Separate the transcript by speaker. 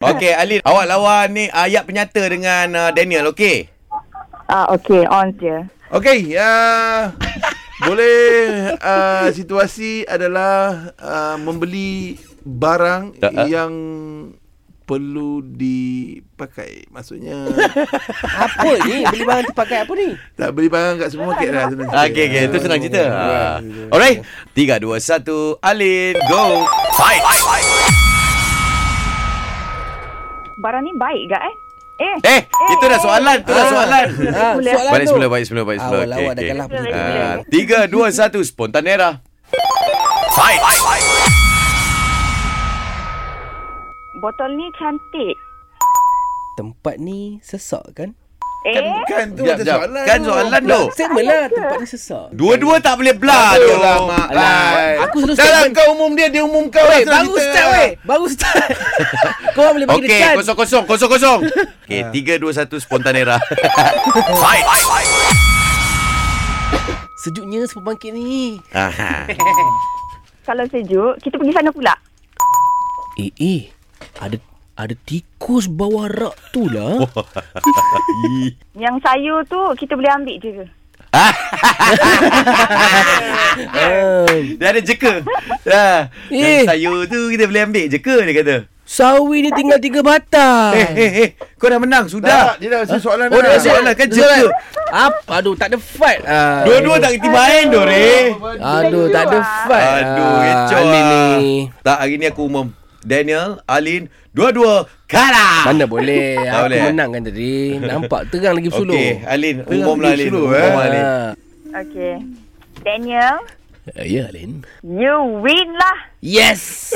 Speaker 1: Okey, Alin. Awak lawan ni ayat penyata dengan uh, Daniel, okey?
Speaker 2: Ah, okay, on je.
Speaker 3: Okey, uh, boleh uh, situasi adalah uh, membeli barang
Speaker 1: Tak, ah.
Speaker 3: yang perlu dipakai. Maksudnya
Speaker 4: Apa ni? Beli barang tu pakai apa ni?
Speaker 3: tak beli barang kat supermarket lah senang cerita.
Speaker 1: Ah, Okey, okey. Itu senang cerita.
Speaker 3: Ah,
Speaker 1: Ha. Alright. 3, 2, 1. Alin, go. Fight.
Speaker 2: Barang ni baik ke eh? Eh,
Speaker 1: Eh, itu dah soalan. Itu dah Ah, soalan.
Speaker 4: Ha,
Speaker 2: Boleh.
Speaker 4: soalan
Speaker 1: Balik
Speaker 4: tu.
Speaker 1: semula, balik semula, balik semula.
Speaker 4: Awal awak dah kalah
Speaker 2: Boleh,
Speaker 4: penyakit.
Speaker 2: boleh.
Speaker 1: Ah, Tiga, dua, satu. Spontanera. Fight.
Speaker 2: botol ni cantik.
Speaker 4: Tempat ni sesak kan?
Speaker 2: Eh,
Speaker 3: Kan tu
Speaker 1: Jap,
Speaker 3: macam
Speaker 1: jap.
Speaker 3: soalan.
Speaker 1: Kan soalan tu.
Speaker 4: Sama lah tempat ni sesak.
Speaker 1: Dua-dua tak boleh belah tu.
Speaker 3: Ayolah, Mak. Lai.
Speaker 4: Aku selalu
Speaker 3: Dah lah
Speaker 4: statement.
Speaker 3: kau umum dia, dia umum kau.
Speaker 1: eh,
Speaker 3: lah,
Speaker 4: Weh,
Speaker 3: senang
Speaker 4: baru
Speaker 3: cerita.
Speaker 4: start weh. Baru start. Kau orang boleh bagi
Speaker 1: Okey,
Speaker 4: dekat.
Speaker 1: kosong kosong, kosong kosong. Okey, tiga dua satu spontanera. Fight.
Speaker 4: Sejuknya supermarket ni.
Speaker 1: Aha.
Speaker 2: kalau sejuk, kita pergi sana pula.
Speaker 4: Eh, eh. Ada ada tikus bawah rak tu lah.
Speaker 2: Yang sayur tu kita boleh ambil je ke?
Speaker 4: Kan.
Speaker 1: Dia ada jeka. Ha.
Speaker 4: Eh.
Speaker 1: Yang sayur tu kita boleh ambil jeka dia kata.
Speaker 4: Sawi ni tinggal tiga batang.
Speaker 1: Eh, eh, eh. Kau dah menang
Speaker 3: Dah,
Speaker 1: sudah.
Speaker 3: dia dah rasa soalan
Speaker 1: Oh, dah soalan kan jeka.
Speaker 4: Apa? Aduh, tak ada fight. Ah.
Speaker 1: Dua-dua tak kerti main tu, Reh.
Speaker 4: Aduh, tak ada fight.
Speaker 1: Aduh,
Speaker 4: Ah,
Speaker 1: kecoh.
Speaker 4: Alin ni.
Speaker 1: Tak, hari ni aku umum. Daniel, Alin, dua-dua kalah.
Speaker 4: Mana boleh.
Speaker 1: Ah. Tak
Speaker 4: Aku
Speaker 1: boleh. eh?
Speaker 4: menang kan tadi. Nampak terang lagi bersuluh.
Speaker 1: Okey, Alin,
Speaker 3: Tengah
Speaker 1: umumlah
Speaker 3: pergi
Speaker 1: Alin.
Speaker 3: slow,
Speaker 1: Umum lah,
Speaker 3: eh.
Speaker 1: Alin.
Speaker 4: Ah.
Speaker 2: Okay. Daniel,
Speaker 4: Ya, Alin.
Speaker 2: you win lah.
Speaker 4: Yes.